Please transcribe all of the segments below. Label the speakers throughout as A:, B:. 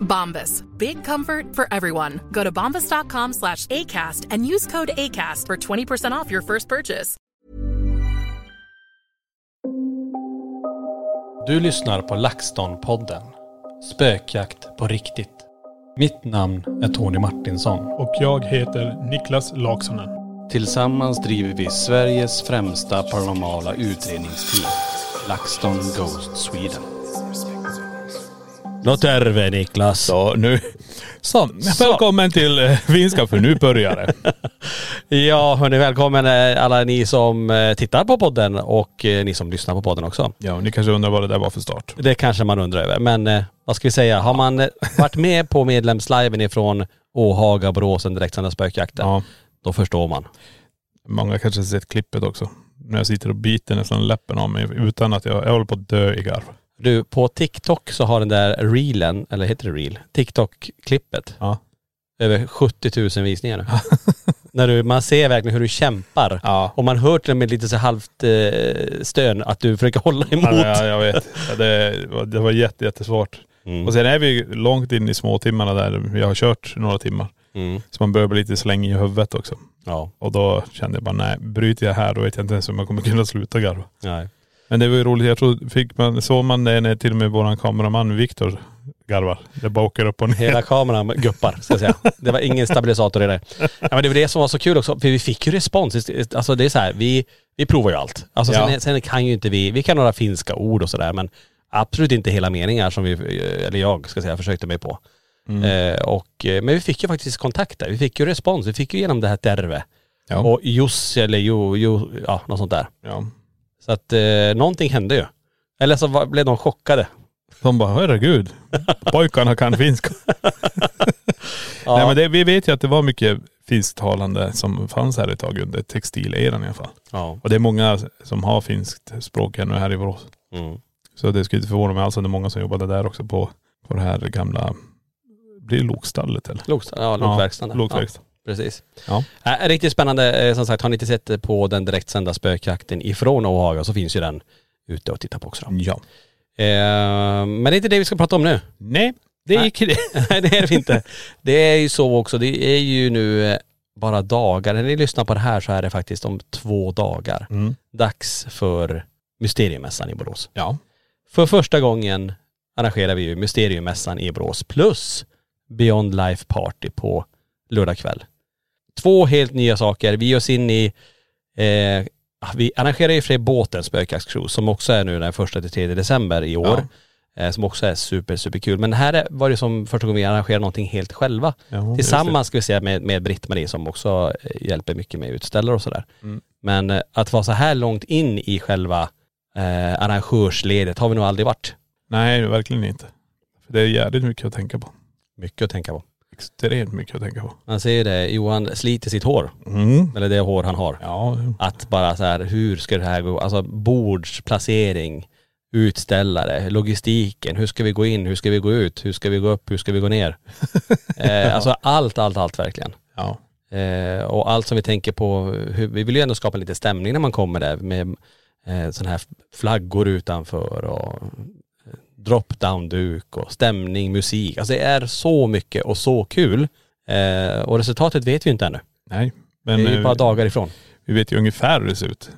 A: Bombas. Big comfort for everyone. Go to bombas.com slash ACAST and use code ACAST for 20% off your first purchase.
B: Du lyssnar på LaxTon-podden. Spökjakt på riktigt. Mitt namn är Tony Martinsson.
C: Och jag heter Niklas Laksonen.
B: Tillsammans driver vi Sveriges främsta paranormala utredningsteam. LaxTon Ghost Sweden.
D: Nå terve Niklas.
C: Så nu... Så,
D: Så.
C: välkommen till eh, Finska för nu börjar det.
D: Ja, hörni, välkommen eh, alla ni som eh, tittar på podden och eh, ni som lyssnar på podden också.
C: Ja, ni kanske undrar vad det där var för start.
D: Det kanske man undrar över, men eh, vad ska vi säga? Har man eh, varit med på medlemsliven ifrån Åhaga, Boråsen, direktsända spökjakten,
C: Ja,
D: då förstår man.
C: många kanske har sett klippet också. När jag sitter och biter nästan läppen av mig utan att jag, jag håller på att dö i garv.
D: Du, på TikTok så har den där reelen, eller heter det reel? TikTok-klippet.
C: Ja.
D: Över 70 000 visningar nu. När du, man ser verkligen hur du kämpar.
C: Ja.
D: Och man hör till och med lite så halvt eh, stön att du försöker hålla emot.
C: Ja, jag, jag vet. Ja, Det, var- det var jätte, jättesvårt.
D: Mm.
C: Och sen är vi ju långt in i småtimmarna där. Jag har kört några timmar.
D: Mm.
C: Så man börjar bli lite slängig i huvudet också.
D: Ja.
C: Och då kände jag bara nej, bryter jag här då vet jag inte ens om jag kommer kunna sluta garva.
D: Nej.
C: Men det var ju roligt, jag tror, fick man, såg man det när till och med våran kameraman Viktor garvar. Det bara åker upp och ner.
D: Hela kameran guppar, ska jag säga. Det var ingen stabilisator i det. Ja, men det var det som var så kul också, för vi fick ju respons. Alltså det är så här, vi, vi provar ju allt. Alltså
C: Ja.
D: sen, sen kan ju inte vi, vi kan några finska ord och sådär, men absolut inte hela meningar som vi, eller jag ska säga, försökte mig på. Eh, och, eh, men vi fick ju faktiskt kontakter, vi fick ju respons, vi fick ju genom det här Terve.
C: Ja.
D: Och Jussi eller jo, jo, ja något sånt där.
C: Ja.
D: Så att eh, någonting hände ju. Eller så var, blev de chockade.
C: De bara, herregud, pojkarna kan finska. Nej men det, vi vet ju att det var mycket finsktalande som fanns här ett tag under textileran i alla fall.
D: Ja.
C: Och det är många som har finskt språk ännu här i Borås.
D: Mm.
C: Så det skulle inte förvåna mig alls om det är många som jobbade där också på, på det här gamla, blir det lokstallet eller?
D: Loksta- ja, lokverkstan. där. Ja.
C: Lokverkstad.
D: Precis.
C: Ja.
D: Äh, riktigt spännande. Eh, Som sagt, har ni inte sett det på den direktsända spökjakten ifrån Ohaga så finns ju den ute och titta på också. Då.
C: Ja.
D: Eh, men det är inte det vi ska prata om nu.
C: Nej, det
D: Nej.
C: gick det.
D: Nej det är det inte. Det är ju så också, det är ju nu eh, bara dagar. När ni lyssnar på det här så är det faktiskt om två dagar.
C: Mm.
D: Dags för Mysteriemässan i Borås.
C: Ja.
D: För första gången arrangerar vi ju Mysteriemässan i Borås plus Beyond Life Party på lördag kväll. Två helt nya saker. Vi ger oss in i, eh, vi arrangerar ju för sig båten Spökjaktscruise som också är nu den första till 3 december i år. Eh, som också är super, super kul. Men här är- var det som första gången vi arrangerade någonting helt själva.
C: Ja,
D: Tillsammans ska vi säga med, med Britt-Marie som också eh, hjälper mycket med utställare och sådär. Men eh, att vara så här långt in i själva eh, arrangörsledet har vi nog aldrig varit.
C: Nej, verkligen inte. För det är jävligt mycket att tänka på.
D: Mycket att tänka på.
C: Extremt mycket att tänka på.
D: Man ser ju det, Johan sliter sitt hår. Eller det hår han har.
C: Ja,
D: Att bara så här, hur ska det här gå? Alltså bordsplacering, utställare, logistiken, hur ska vi gå in, hur ska vi gå ut, hur ska vi gå upp, hur ska vi gå ner. eh, alltså allt, allt, allt verkligen.
C: Ja.
D: Eh, och allt som vi tänker på, hur, vi vill ju ändå skapa lite stämning när man kommer där med eh, sådana här flaggor utanför och drop down duk och stämning, musik. Alltså det är så mycket och så kul. Eh, och resultatet vet vi inte ännu.
C: Nej. Men
D: det är ju
C: eh,
D: bara dagar ifrån.
C: vi vet ju ungefär hur det ser ut.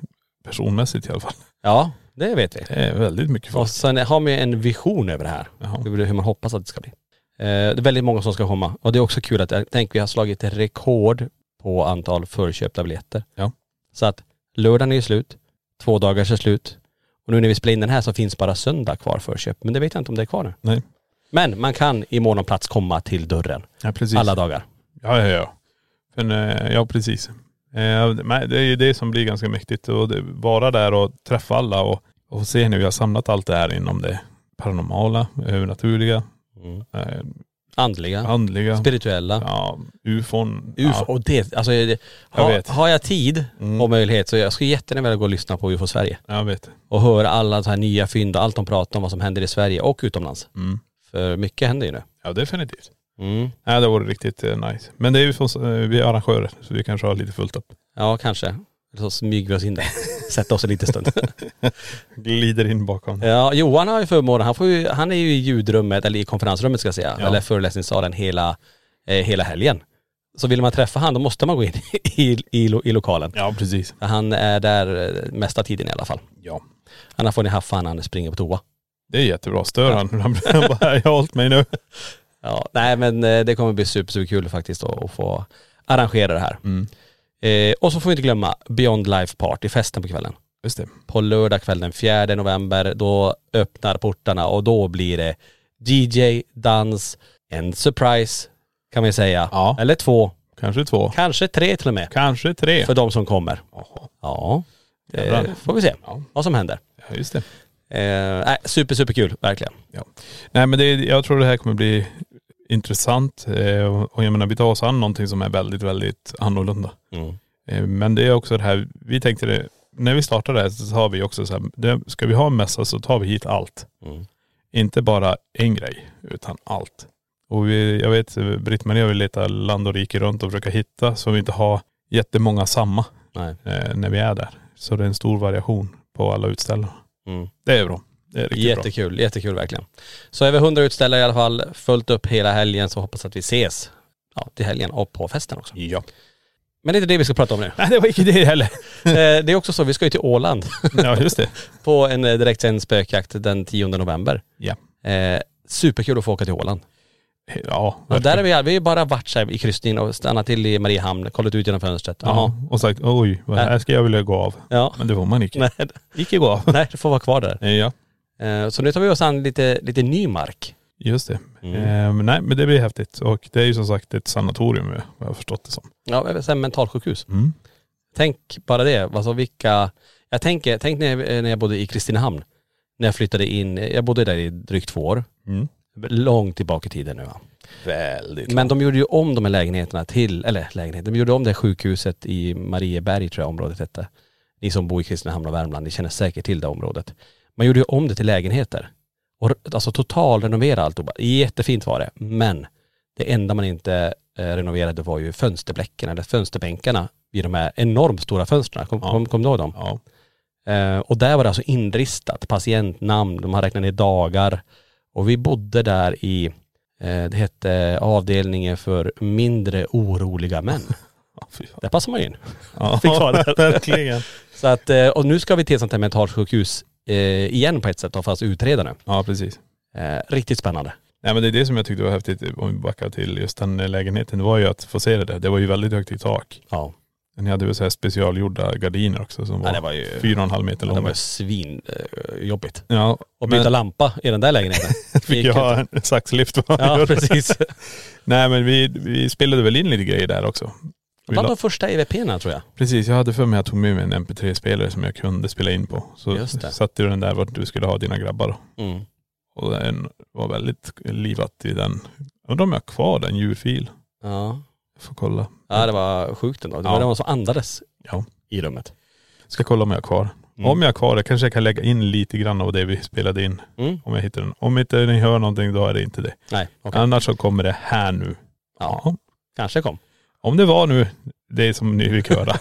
C: Personmässigt i alla fall.
D: Ja, det vet vi.
C: Det är väldigt mycket folk.
D: Och sen har man ju en vision över det här.
C: Jaha.
D: Det blir hur man hoppas att det ska bli. Eh, det är väldigt många som ska komma. Och det är också kul att, jag tänker vi har slagit rekord på antal förköpta biljetter.
C: Ja.
D: Så att lördagen är ju slut, två dagar är slut. Och nu när vi spelar in den här så finns bara söndag kvar förköp. Men det vet jag inte om det är kvar nu.
C: Nej.
D: Men man kan i mån om plats komma till dörren.
C: Ja precis.
D: Alla dagar.
C: Ja, ja, ja. Men, eh, ja, precis. Eh, men Det är ju det som blir ganska mäktigt. Och det, vara där och träffa alla och, och se nu, vi har samlat allt det här inom det paranormala, övernaturliga,
D: Mm.
C: eh,
D: Andliga,
C: andliga,
D: spirituella.
C: ja, ufon.
D: UFO,
C: Ja,
D: och det, alltså, är det,
C: Jag
D: har,
C: vet.
D: har jag tid
C: Mm.
D: och möjlighet så jag skulle jättegärna vilja gå och lyssna på UFO Sverige.
C: jag vet.
D: och höra alla så här nya fynd och allt de pratar om vad som händer i Sverige och utomlands.
C: Mm.
D: För mycket händer ju nu.
C: Ja, definitivt.
D: Mm.
C: Ja, det vore riktigt eh, nice. Men det är ju från, eh, vi är arrangörer, så vi kanske har lite fullt upp.
D: Ja, kanske. Eller så smyger vi oss in där. Sätter oss en liten stund.
C: Glider in bakom.
D: ja, Johan har ju förmånen, han, får ju, han är ju i ljudrummet, eller i konferensrummet ska jag säga,
C: Ja.
D: eller föreläsningssalen hela, eh, hela helgen. Så vill man träffa han då måste man gå in i, i, lo- i lokalen.
C: Ja, precis.
D: Han är där eh, mesta tiden i alla fall.
C: Ja.
D: Annars får ni haffa han när han springer på toa.
C: Det är jättebra. Stör han? Han bara, jag har hållit mig nu.
D: Ja, nej men eh, det kommer bli super, super kul faktiskt att, att få arrangera det här.
C: Mm.
D: Eh, och så får vi inte glömma Beyond Life Party, festen på kvällen.
C: Just det.
D: På lördag kväll den 4 november, då öppnar portarna och då blir det DJ, dans, en surprise kan vi säga.
C: Ja.
D: Eller två,
C: Kanske två.
D: kanske tre till och med.
C: Kanske tre.
D: För de som kommer.
C: Jaha.
D: Ja,
C: Jävlar.
D: det får vi se
C: Ja.
D: vad som händer.
C: Ja, just det.
D: Eh, nej, super, super kul, verkligen.
C: Nej men det, jag tror det här kommer bli intressant. Eh, och- och jag menar vi tar oss an någonting som är väldigt, väldigt annorlunda.
D: Mm.
C: Eh, men det är också det här, vi tänkte det, när vi startade det här så har vi också så här, det, ska vi ha en mässa så tar vi hit allt.
D: Mm.
C: Inte bara en grej, utan allt. Och vi, jag vet, Britt-Maria vill leta land och rike runt och försöka hitta så vi inte har jättemånga samma
D: Nej.
C: eh, när vi är där. Så det är en stor variation på alla utställarna.
D: Mm.
C: Det är bra. Det är riktigt bra.
D: Jättekul, jättekul verkligen. Så över 100 utställare i alla fall, följt upp hela helgen så hoppas att vi ses ja, till helgen och på festen också.
C: Ja.
D: Men det är inte det vi ska prata om nu.
C: Nej det var inte det heller.
D: Eh, det är också så, vi ska ju till Åland
C: ja just det.
D: på en eh, direktsänd spökjakt den 10 november.
C: Ja.
D: Eh, superkul att få åka till Åland.
C: Ja,
D: Och där
C: verkligen.
D: är vi, vi har ju bara varit så här i kryssningen och stannat till i Mariehamn, kollat ut genom fönstret.
C: Ja,
D: Jaha.
C: och sagt oj, vad här ska jag vilja gå av.
D: Ja.
C: Men det får man inte.
D: Nej,
C: Icke gå av.
D: nej, du får vara kvar där.
C: Eh, Ja,
D: Eh, så nu tar vi oss an lite, lite ny mark.
C: just det.
D: Mm.
C: Ehm, nej men det blir häftigt. Och det är ju som sagt ett sanatorium eh, vad jag har förstått det som.
D: Ja, sen mentalsjukhus.
C: Mm.
D: Tänk bara det, alltså vilka.. Jag tänker, tänk när jag, när jag bodde i Kristinehamn. När jag flyttade in, jag bodde där i drygt två år.
C: Mm.
D: Långt tillbaka i tiden nu va.
C: Väldigt.
D: Men de gjorde ju om de här lägenheterna till, eller lägenheter, de gjorde om det här sjukhuset i Marieberg tror jag området hette. Ni som bor i Kristinehamn och Värmland, ni känner säkert till det området. Man gjorde ju om det till lägenheter. Och r- alltså totalrenovera alltihopa. Jättefint var det, men det enda man inte eh, renoverade var ju fönsterbläcken eller fönsterbänkarna vid de här enormt stora fönstren. Kom,
C: Ja.
D: kom, kom du ihåg dem?
C: Ja.
D: Eh, och där var det alltså inristat, patientnamn, de har räknat ner dagar. Och vi bodde där i, eh, det hette avdelningen för mindre oroliga män.
C: Ja, fy fan.
D: Där passar man ju in.
C: Ja,
D: Fick ta det.
C: verkligen.
D: Så att, eh, och nu ska vi till ett sånt här mentalsjukhus eh, igen på ett sätt, då, fast utreda nu.
C: Ja precis.
D: Eh, riktigt spännande.
C: Nej men det är det som jag tyckte var häftigt eh, om vi backar till just den eh, lägenheten. Det var ju att få se det där. Det var ju väldigt högt i tak.
D: Ja.
C: Ni hade väl så här specialgjorda gardiner också som var,
D: Ja, det var ju-
C: fyra och en halv meter
D: Det var
C: långa.
D: ju svinjobbigt.
C: Ja,
D: och byta
C: men-
D: lampa i den där lägenheten.
C: Fick ju ha en saxlift.
D: Ja, precis.
C: Nej men vi, vi spelade väl in lite grejer där också. Vi
D: Bland
C: la-
D: de första EVP-erna tror jag.
C: Precis, jag hade för mig att jag tog med mig en mp3-spelare som jag kunde spela in på. Så
D: Just det.
C: satte du den där vart du skulle ha dina grabbar. då.
D: Mm.
C: Och den var väldigt livat i den. Undrar om jag har kvar den ljudfil.
D: Ja.
C: Jag får kolla.
D: ja, det var sjukt ändå. Det var
C: Ja.
D: de som andades
C: Ja.
D: i rummet.
C: Ska kolla om jag har kvar den. Om jag har kvar det kanske jag kan lägga in lite grann av det vi spelade in.
D: Mm.
C: Om jag hittar den. Om inte ni hör någonting då är det inte det.
D: Nej, okej.
C: Annars så kommer det här nu.
D: Ja, kanske kom.
C: Om det var nu det som ni fick höra.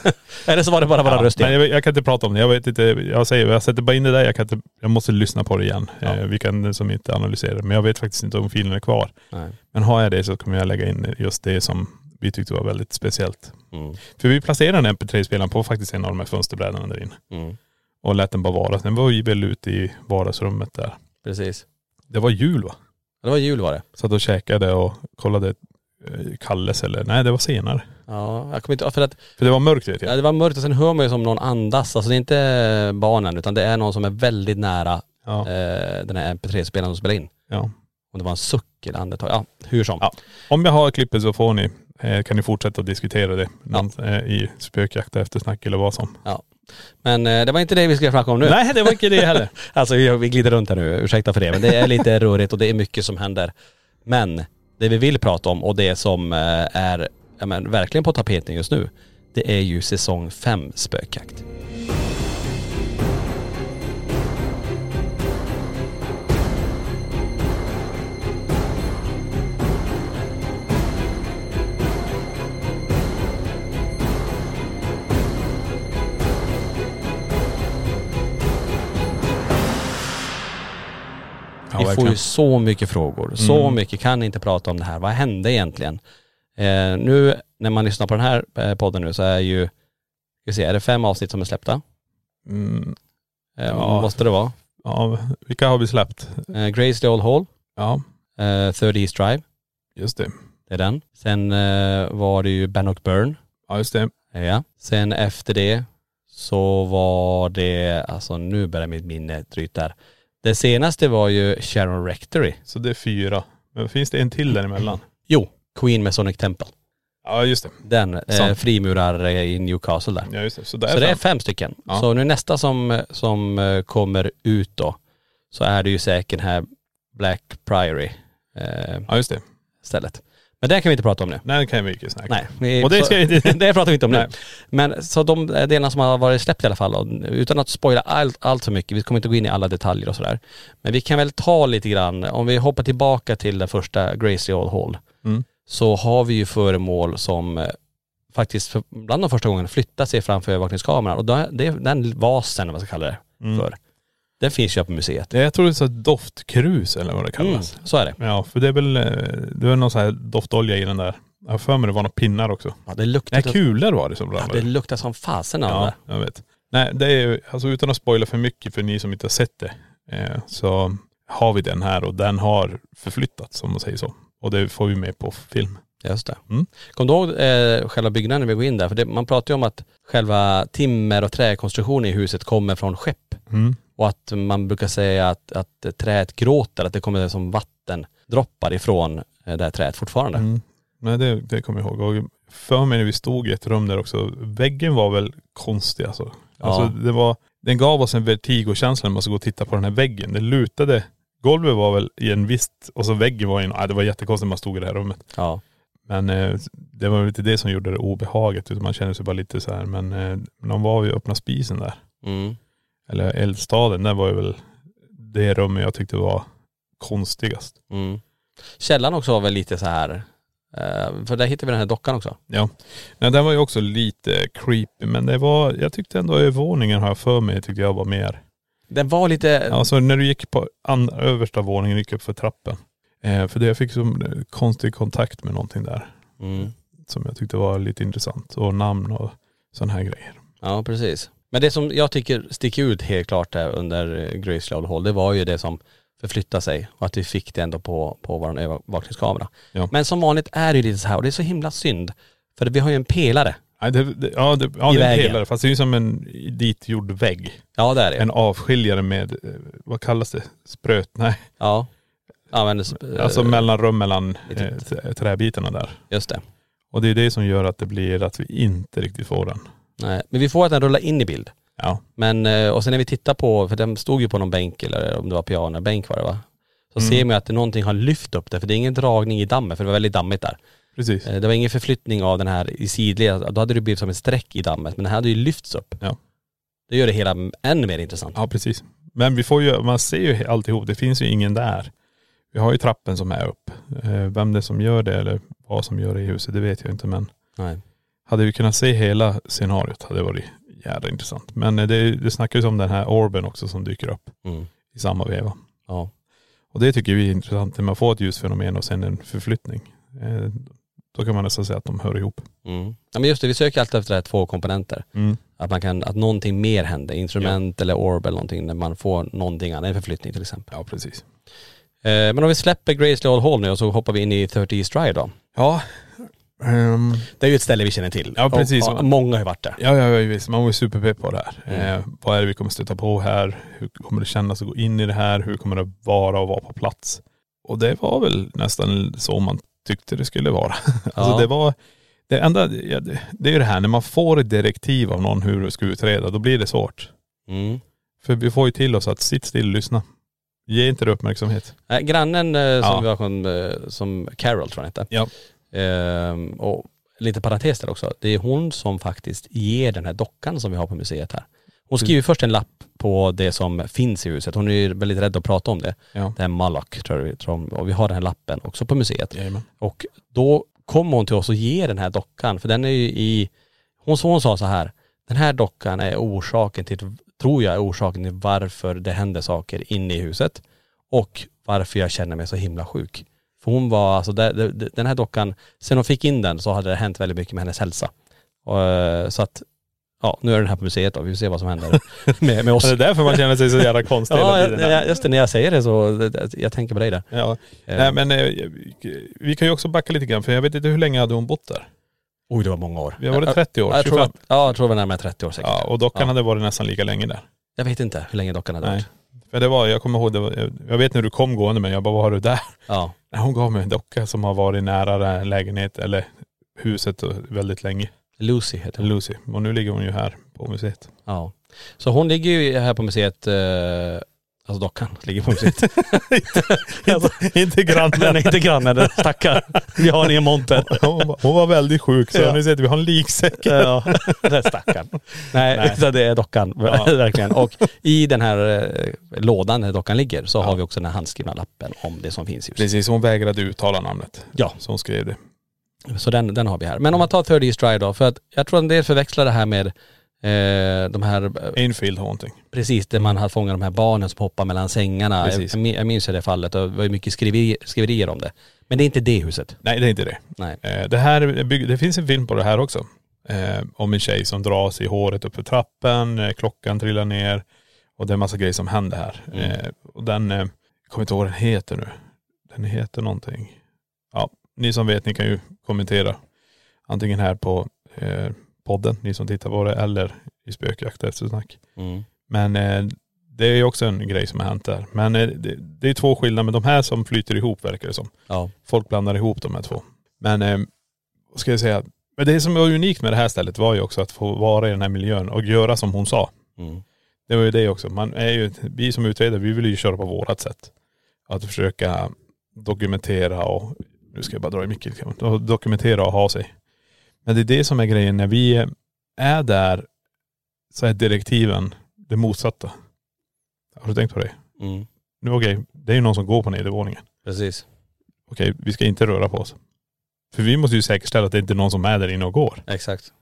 D: Eller så var det bara våra
C: Ja,
D: röster.
C: Men jag, jag kan inte prata om det. Jag vet inte, jag säger, jag sätter bara in det där. Jag, kan inte, jag måste lyssna på det igen.
D: Ja.
C: Eh, vi kan som inte analysera det. Men jag vet faktiskt inte om filen är kvar.
D: Nej.
C: Men har jag det så kommer jag lägga in just det som vi tyckte var väldigt speciellt.
D: Mm.
C: För vi placerade den MP3-spelaren på faktiskt en av de här fönsterbrädorna där inne.
D: Mm.
C: Och lät den bara vara. Den var ju väl ute i vardagsrummet där.
D: Precis.
C: Det var jul va?
D: Ja, Det var jul var det.
C: Satt och käkade och kollade eh, Kalles eller, nej det var senare.
D: Ja, jag kommer inte, ja, för att
C: För det var mörkt vet jag.
D: ja, det var mörkt och sen hör man ju som någon andas. Alltså det är inte barnen utan det är någon som är väldigt nära
C: Ja.
D: eh, den här mp3-spelaren som spelar in.
C: ja.
D: Om det var en suck eller andetag. Ja, hur som.
C: Ja. Om jag har klippet så får ni, eh, kan ni fortsätta att diskutera det Någon, eh, i spökjakt och eftersnack eller vad som.
D: Men eh, det var inte det vi skulle snacka om nu.
C: Nej det var inte det heller.
D: Alltså vi, vi glider runt här nu, ursäkta för det. Men det är lite rörigt och det är mycket som händer. Men det vi vill prata om och det som eh, är ja, men, verkligen på tapeten just nu, det är ju säsong 5 spökjakt.
C: Ja,
D: vi får
C: verkligen. Mm.
D: ju så mycket frågor, så mycket kan inte prata om det här. Vad hände egentligen? Eh, nu när man lyssnar på den här eh, podden nu så är ju, ska vi se, är det fem avsnitt som är släppta?
C: Mm,
D: Eh,
C: Ja.
D: Måste det vara.
C: ja, vilka har vi släppt?
D: Eh, Grace the Old Hall,
C: Ja,
D: eh, 30 East Drive,
C: just det.
D: det är den. Sen eh, var det ju Ben och Burn. Eh,
C: Ja just det.
D: Ja. Sen efter det så var det, alltså nu börjar mitt minne tryta här. Det senaste var ju Sharon Rectory.
C: Så det är fyra. Men finns det en till däremellan?
D: Jo. Queen med Sonic Temple.
C: Ja just det.
D: Den eh,
C: Sant.
D: frimurar eh, i Newcastle där.
C: Ja just det. Så, där
D: så det är
C: fem.
D: fem stycken.
C: Ja.
D: Så nu nästa som, som eh, kommer ut då så är det ju säkert här Black Priory eh,
C: Ja just det.
D: stället. Men det kan vi inte prata om nu.
C: Nej det kan vi inte snacka
D: Nej. vi-
C: Och det ska jag inte-
D: det pratar vi inte om nu.
C: Nej.
D: Men så de eh, delarna som har varit släppt i alla fall, och utan att spoila allt, allt för mycket, vi kommer inte gå in i alla detaljer och sådär. Men vi kan väl ta lite grann, om vi hoppar tillbaka till den första Gracie Old Hall,
C: Mm.
D: så har vi ju föremål som eh, faktiskt för, bland de första gångerna flyttar sig framför övervakningskameran. Och det, det, den vasen, vad man ska kalla det
C: Mm.
D: för, den finns ju på museet.
C: Det- Jag tror det är så här doftkrus eller vad det
D: Mm,
C: kallas.
D: så är det.
C: Ja för det är väl, eh, det är någon sån här doftolja i den där. Jag har för mig det var några pinnar också.
D: Ja, det luktar,
C: Nej kulor var det som
D: ja, det
C: ramlade.
D: luktar som fasen av
C: Ja,
D: det.
C: jag vet. Nej, det är ju, alltså utan att spoila för mycket för ni som inte har sett det, eh, så har vi den här och den har förflyttats om man säger så. Och det får vi med på film.
D: Just det.
C: Mm.
D: Kom du ihåg eh, själva byggnaden när vi går in där? För det, man pratar ju om att själva timmer och träkonstruktionen i huset kommer från skepp. Och att man brukar säga att, att träet gråter, att det kommer som vattendroppar ifrån eh, det här träet fortfarande.
C: Mm. Nej, det, det kommer jag ihåg. Och för mig när vi stod i ett rum där också, väggen var väl konstig alltså. Alltså det var, den gav oss en vertigokänsla när man skulle gå och titta på den här väggen. Den lutade, golvet var väl i en visst, och så väggen var i en, nej, det var jättekonstigt när man stod i det här rummet.
D: Ja.
C: Men eh, det var väl inte det som gjorde det obehaget utan man kände sig bara lite så här men eh, de var ju öppna spisen där.
D: Mm.
C: Eller eldstaden, där var ju väl det rummet jag tyckte var konstigast.
D: Mm. Källaren också var väl lite så här, eh, för där hittade vi den här dockan också.
C: Ja. Nej, den var ju också lite creepy men det var, jag tyckte ändå övervåningen har jag för mig tyckte jag var mer.
D: Den var lite,
C: Alltså när du gick på an, översta våningen gick upp för trappen. Eh, för det jag fick som eh, konstig kontakt med någonting där
D: mm.
C: som jag tyckte var lite intressant och namn och sådana här grejer.
D: Ja, precis. Men det som jag tycker sticker ut helt klart där under eh, Graceland Hall, det var ju det som förflyttade sig och att vi fick det ändå på, på vår övervakningskamera.
C: Ja.
D: Men som vanligt är det ju lite så här och det är så himla synd. För vi har ju en pelare.
C: Nej, det, det, ja, det, ja,
D: I
C: det är en
D: vägen.
C: pelare. Fast det är ju som en ditgjord vägg.
D: Ja det är det.
C: En avskiljare med, eh, vad kallas det? Spröt? Nej.
D: Ja. Användes, eh, typ
C: Alltså mellanrum mellan
D: lite-
C: eh, t- träbitarna där.
D: just det.
C: Och det är det som gör att det blir att vi inte riktigt får den.
D: Nej. Men vi får att den rullar in i bild.
C: Ja.
D: Men, eh, och sen när vi tittar på, för den stod ju på någon bänk eller om det var pianobänk var det va? Så
C: Mm.
D: ser man ju att någonting har lyft upp det, för det är ingen dragning i dammen, för det var väldigt dammigt där.
C: Precis.
D: Eh, Det var ingen förflyttning av den här i sidled, då hade det blivit som ett streck i dammet, men den här hade ju lyfts upp.
C: Ja.
D: Det gör det hela än mer intressant.
C: Ja precis. Men vi får ju, man ser ju alltihop, det finns ju ingen där. Vi har ju trappen som är upp. Eh, Vem det är som gör det eller vad som gör det i huset, det vet jag inte men
D: Nej.
C: hade vi kunnat se hela scenariot hade det varit jävla intressant. Men eh, det, det snackas ju om den här orben också som dyker upp
D: Mm.
C: i samma veva.
D: Ja.
C: Och det tycker vi är intressant när man får ett ljusfenomen och sen en förflyttning. Eh, Då kan man nästan säga att de hör ihop.
D: Mm. ja. men just det, vi söker alltid efter det här två komponenter.
C: Mm.
D: Att man kan, att någonting mer händer. Instrument eller orb eller någonting. När man får någonting annat. En förflyttning till exempel.
C: Ja precis.
D: Eh, men om vi släpper Graceley Hall nu och så hoppar vi in i 30 East Drive då.
C: Ja. Ehm,
D: Det är ju ett ställe vi känner till.
C: Ja, precis.
D: Och, och, många har ju varit där.
C: ja, ja, ja visst. Man var ju superpepp på det här.
D: Mm.
C: Eh, vad är det vi kommer stöta på här? Hur kommer det kännas att gå in i det här? Hur kommer det vara att vara på plats? Och det var väl nästan så man tyckte det skulle vara.
D: Ja.
C: Alltså det var, det enda, ja, det det är ju det här när man får ett direktiv av någon hur du ska utreda, då blir det svårt.
D: Mm.
C: För vi får ju till oss att sitt still och lyssna. Ge inte det uppmärksamhet.
D: Nej, grannen eh, som
C: Ja.
D: vi har som, eh, som Carol tror jag hette.
C: Ja.
D: Ehm, och lite parentes där också. Det är hon som faktiskt ger den här dockan som vi har på museet här. Hon skriver först en lapp på det som finns i huset. Hon är ju väldigt rädd att prata om det.
C: Ja.
D: Det här Malak tror jag vi tror om. Och vi har den här lappen också på museet.
C: Jajamän.
D: Och då kom hon till oss och ger den här dockan. För den är ju i.. Hon, hon sa så här. Den här dockan är orsaken till, tror jag är orsaken till varför det händer saker inne i huset. Och varför jag känner mig så himla sjuk. För hon var alltså, där- där- där- den här dockan, sen hon fick in den så hade det hänt väldigt mycket med hennes hälsa. Och, eh, så att, ja nu är den här på museet då, vi får se vad som händer med, med oss.
C: Ja, Alltså, Det är därför man känner sig så jävla konstig
D: Ja,
C: hela
D: jag-
C: tiden. här.
D: jag- just det, när jag säger det så, det- det- jag tänker på dig där.
C: Ja.
D: Eh,
C: Nej men eh, vi kan ju också backa lite grann för jag vet inte hur länge hade hon bott där?
D: Oj, det var många år.
C: Vi har varit
D: Ja,
C: 30 år,
D: Ja, jag tror
C: 25.
D: att, ja, jag tror det var närmare 30 år säkert.
C: Ja och dockan
D: Ja.
C: hade varit nästan lika länge där.
D: Jag vet inte hur länge dockan hade
C: Nej.
D: varit.
C: För det var, jag kommer ihåg, det var, jag- jag vet när du kom gående men jag bara, vad har du där?
D: Ja.
C: Nej, hon gav mig en docka som har varit nära den här lägenheten eller huset och väldigt länge.
D: Lucy heter hon.
C: Lucy. Och nu ligger hon ju här på museet.
D: Ja. Så hon ligger ju här på museet, eh, alltså dockan ligger på museet. Alltså,
C: inte
D: Den är inte grannen, den stackaren. Vi har ingen monter.
C: Hon, var- hon var väldigt sjuk så
D: Ja.
C: nu ser att vi har en liksäck.
D: Ja, den stackaren. Nej,
C: Nej.
D: Så det är dockan, verkligen. Och i den här eh, lådan där dockan ligger så har vi också den här handskrivna lappen om det som finns i huset.
C: Precis, hon vägrade uttala namnet.
D: Ja.
C: Så hon skrev det.
D: Så den, den har vi här. Men om man tar 30 East Drive då, för att jag tror en del förväxlar det här med eh, de här eh,
C: Infield haunting.
D: Precis, där man hade fångat de här barnen som hoppar mellan sängarna. Jag,
C: Precis.
D: jag min- jag minns ju det fallet och det var ju mycket skriveri, skriverier om det. Men det är inte det huset.
C: Nej det är inte det.
D: Nej.
C: Eh, Det, här, är bygg- det finns en film på det här också. Eh, om en tjej som dras i håret upp för trappen, eh, klockan trillar ner och det är en massa grejer som händer här.
D: Mm.
C: Eh, och den, eh, jag kommer inte ihåg vad den heter nu. Den heter någonting. Ja, ni som vet ni kan ju kommentera. Antingen här på eh, podden, ni som tittar på det, eller i spökjakt eftersnack. Men eh, det är ju också en grej som har hänt där. Men eh, det, det är två skillnader, men de här som flyter ihop verkar det som
D: Ja.
C: folk blandar ihop de här två. Men eh, vad ska jag säga, men det som var unikt med det här stället var ju också att få vara i den här miljön och göra som hon sa. Det var ju det också. Man är ju, vi som utredare, vi vill ju köra på vårat sätt. Att försöka dokumentera och, nu ska jag bara dra i micken, lite grann. dokumentera och ha sig. Men det är det som är grejen, när vi är där så är direktiven det motsatta. Har du tänkt på det? Nu okej, det är ju någon som går på nedervåningen
D: Mm. Precis,
C: okej, vi ska inte röra på oss. För vi måste ju säkerställa att det inte är någon som är där inne och går.
D: exakt.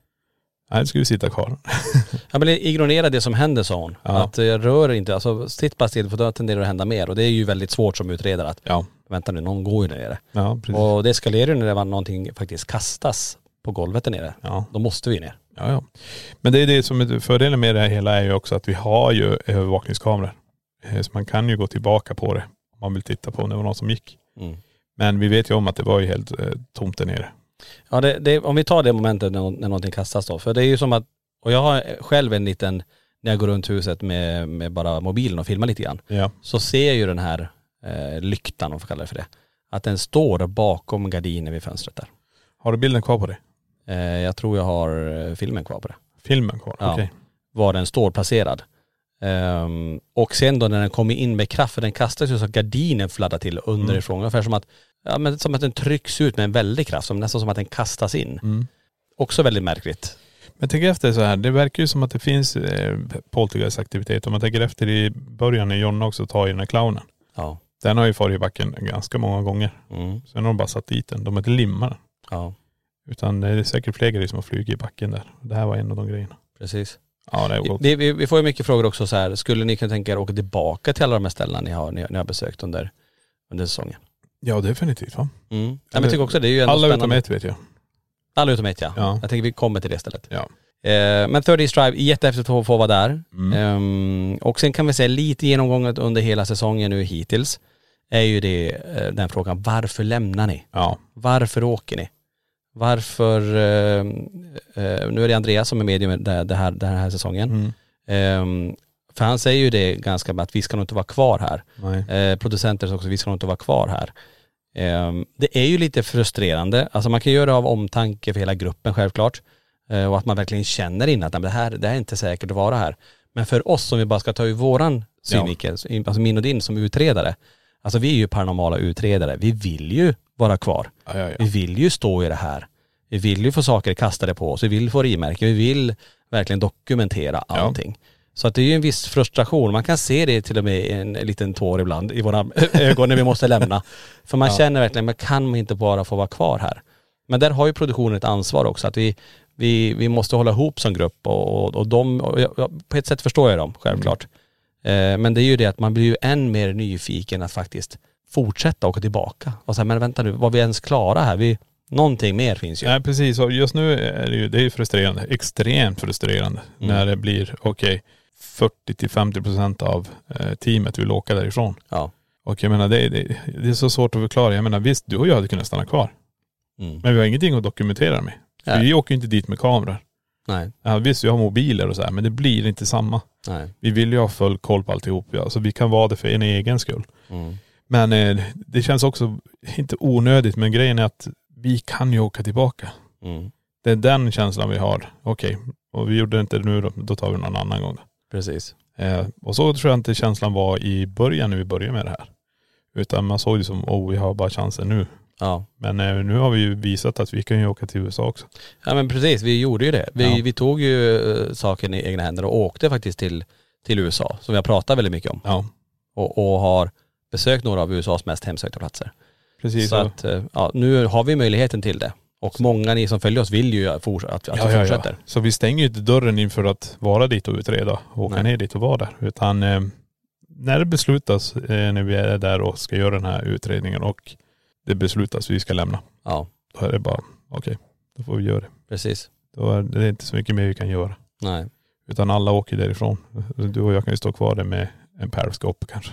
C: Nej, nu ska vi sitta kvar.
D: Ja men ignorera det som händer sa hon.
C: Ja.
D: Att eh, jag rör inte, alltså sitt bara still för då tenderar det att hända mer. Och det är ju väldigt svårt som utredare att,
C: Ja.
D: vänta nu, någon går ju där nere.
C: Ja, precis.
D: Och det eskalerar ju när det var någonting faktiskt kastas på golvet där nere.
C: Ja.
D: Då måste vi ner.
C: Ja, ja. Men det är det som är fördelen med det här hela är ju också att vi har ju övervakningskameror. Eh, Så man kan ju gå tillbaka på det om man vill titta på om det var någon som gick.
D: Mm.
C: Men vi vet ju om att det var ju helt eh, tomt där nere.
D: Ja, det, det, om vi tar det momentet när, nå- när någonting kastas då. För det är ju som att, och jag har själv en liten, när jag går runt huset med, med bara mobilen och filmar lite grann,
C: Ja.
D: så ser jag ju den här eh, lyktan, om man får kalla det för det, att den står bakom gardinen vid fönstret där.
C: Har du bilden kvar på det?
D: Eh, jag tror jag har eh, filmen kvar på det,
C: Filmen kvar?
D: Ja.
C: Okej.
D: var den står placerad. Ehm, och sen då när den kommer in med kraft, för den kastas ju så att gardinen fladdrar till underifrån, ungefär som att, ja, men som att den trycks ut med en väldig kraft, som nästan som att den kastas in.
C: Mm.
D: Också väldigt märkligt.
C: Men tänk efter så här, det verkar ju som att det finns eh, poltergeistaktivitet. Om man tänker efter i början när Jonna också tar i den här clownen.
D: Ja.
C: Den har ju farit i backen ganska många gånger.
D: Mm.
C: Sen har de bara satt dit den. De har inte limmat den.
D: Ja,
C: Utan det är säkert fler grejer som har flugit i backen där. Det här var en av de grejerna.
D: precis.
C: Ja det är gott.
D: Vi, vi, vi får ju mycket frågor också så här, skulle ni kunna tänka er att åka tillbaka till alla de här ställena ni har, ni, ni har besökt under, under säsongen?
C: Ja definitivt va.
D: Mm. Ja, men jag tycker också det är ju ändå
C: Alla
D: spännande.
C: utom ett vet jag.
D: Alla utom ett ja.
C: Ja.
D: Jag tänker vi kommer till det stället.
C: Ja.
D: Eh, men 30 Strive, jättehäftigt att få vara där.
C: Mm.
D: Ehm, och sen kan vi säga lite genomgånget under hela säsongen nu hittills är ju det, eh, den frågan, varför lämnar ni?
C: Ja.
D: Varför åker ni? Varför, eh, eh, nu är det Andreas som är med i det, det här, den här säsongen.
C: Mm.
D: Ehm, för han säger ju det ganska med att vi ska nog inte vara kvar här.
C: Nej.
D: Eh, producenter sa också, vi ska nog inte vara kvar här. Ehm, det är ju lite frustrerande. Alltså man kan göra det av omtanke för hela gruppen självklart. Eh, och att man verkligen känner in att nej, men det, här, det här är inte säkert att vara här. Men för oss som vi bara ska ta ur våran synvinkel, så- alltså min och din som utredare. Alltså vi är ju paranormala utredare. Vi vill ju vara kvar.
C: Ja, ja, ja.
D: Vi vill ju stå i det här. Vi vill ju få saker kastade på oss. Vi vill få rimärken. Vi vill verkligen dokumentera
C: Ja.
D: allting. Så att det är ju en viss frustration. Man kan se det till och med i en liten tår ibland i våra ögon när vi måste lämna. För man känner verkligen, man kan man inte bara få vara kvar här. Men där har ju produktionen ett ansvar också. Att vi, vi, vi måste hålla ihop som grupp och, och, och de, och jag, jag, på ett sätt förstår jag dem självklart. Eh, men det är ju det att man blir ju än mer nyfiken att faktiskt fortsätta åka tillbaka. Och säga, men vänta nu, var vi ens klara här? Vi, någonting mer finns ju.
C: Nej precis, och just nu är det ju, det är ju frustrerande, extremt frustrerande
D: Mm.
C: när det blir, okej, 40-50% av eh, teamet vill åka därifrån.
D: Ja.
C: Och jag menar det, det, det är så svårt att förklara. Jag menar visst, du och jag hade kunnat stanna kvar.
D: Mm.
C: Men vi har ingenting att dokumentera med. För
D: Nej.
C: Vi åker ju inte dit med kameror.
D: Nej,
C: Ja, visst, vi har mobiler och så här, men det blir inte samma.
D: nej.
C: Vi vill ju ha full koll på alltihop, ja. så vi kan vara det för en egen skull.
D: Mm.
C: Men eh, det känns också, inte onödigt, men grejen är att vi kan ju åka tillbaka.
D: Mm.
C: Det är den känslan vi har. Okej, och vi gjorde det inte nu då, då tar vi någon annan gång.
D: Precis.
C: Eh, och så tror jag inte känslan var i början när vi började med det här. Utan man såg det som, oh vi har bara chansen nu.
D: Ja.
C: Men eh, nu har vi ju visat att vi kan ju åka till USA också.
D: ja, men precis. Vi gjorde ju det. Vi,
C: Ja.
D: vi tog ju eh, saken i egna händer och åkte faktiskt till, till USA, som vi har pratat väldigt mycket om.
C: Ja,
D: Och, och har besökt några av USAs mest hemsökta platser.
C: precis.
D: Så att, eh, ja, nu har vi möjligheten till det. Och många ni som följer oss vill ju fors- att, att
C: ja,
D: vi
C: ja, ja.
D: fortsätter.
C: Så vi stänger ju inte dörren inför att vara dit och utreda och åka
D: Nej.
C: ner dit och vara där. Utan eh, när det beslutas, eh, när vi är där och ska göra den här utredningen och det beslutas vi ska lämna,
D: Ja,
C: då är det bara, okej, då får vi göra det.
D: precis.
C: Då är det inte så mycket mer vi kan göra.
D: Nej.
C: Utan alla åker därifrån. Du och jag kan ju stå kvar där med en periscope kanske.